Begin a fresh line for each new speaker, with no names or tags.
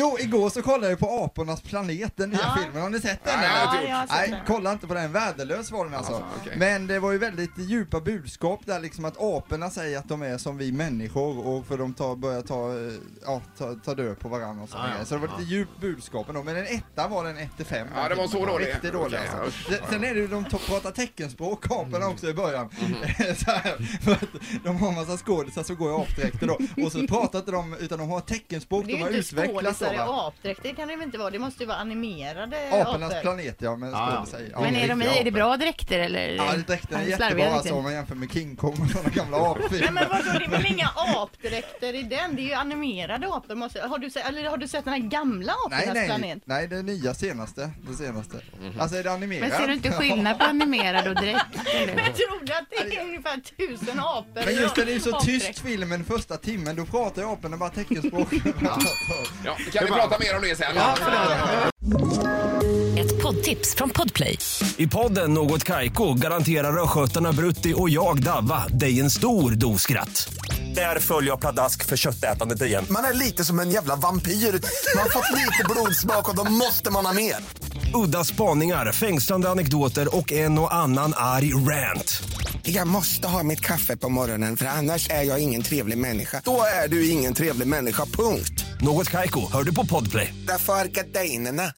Jo, igår så kollade jag på Apornas planet, den nya filmen. Har ni sett den? eller?
Nej, jag har inte
jag har
gjort.
sett
typ? Nej,
den.
kolla inte på den. Värdelös var den alltså.
Alltså, okej.
Men det var ju väldigt djupa budskap där liksom att aporna säger att de är som vi människor och för de tar, börjar ta, eh, ja, ta, ta död på varandra och sådana
Ja, ja.
grejer. Så det var lite djupt budskap ändå. Men en etta var den 1 till 5.
Ja, det var så dålig.
Riktigt dålig
Okej, ja, usch.
alltså. Sen- Sen är det ju de to- pratar teckenspråk, aporna också i början. så här, för att de har en massa skådisar som går i apdräkter då. Och så pratar inte de, utan de har teckenspråk,
Det är
de
ju
har
inte
utvecklats
skådisar
av
i
va?
apdräkt, det kan det väl inte vara? Det måste ju vara animerade
Apornas
apor.
planet ja, men
Ja, ja.
skådisar. i- ja,
Ah. Men är, de,
riktiga
är det
apor.
bra dräkter eller?
Ja, dräkten är
Ja,
jättebra
slarviga
alltså om man jämför med King Kong och sådana gamla
Nej men
apfilmer.
vadå, det är väl inga apdräkter i den? Det är ju animerade apor. Måste, har, du, se- eller har du sett den här gamla apornas
Nej, nej,
planet?
nej, det nya senaste. Det senaste. Alltså är det animerat?
Mhm. Men ser du inte skillnad på animerad och dräkt?
Men
eller?
jag trodde att det är ungefär tusen apor.
Men just det, det är ju så
Apdräkt.
tyst filmen första timmen, då pratar ju aporna bara teckenspråk.
Ja, kan vi prata mer om det sen? Ja,
Ett poddtips från Podplay.
I podden Något Kaiko garanterar östgötarna Brutti och jag, Davva, dig en stor dos skratt. Där följer jag pladask för köttätandet igen.
Man är lite som en jävla vampyr. Man har fått lite blodsmak och då måste man ha mer.
Udda spaningar, fängslande anekdoter och en och annan arg rant.
Jag måste ha mitt kaffe på morgonen för annars är jag ingen trevlig människa. Då är du ingen trevlig människa, punkt.
Något Kaiko, hör du på Podplay.
Därför arkadeinerna.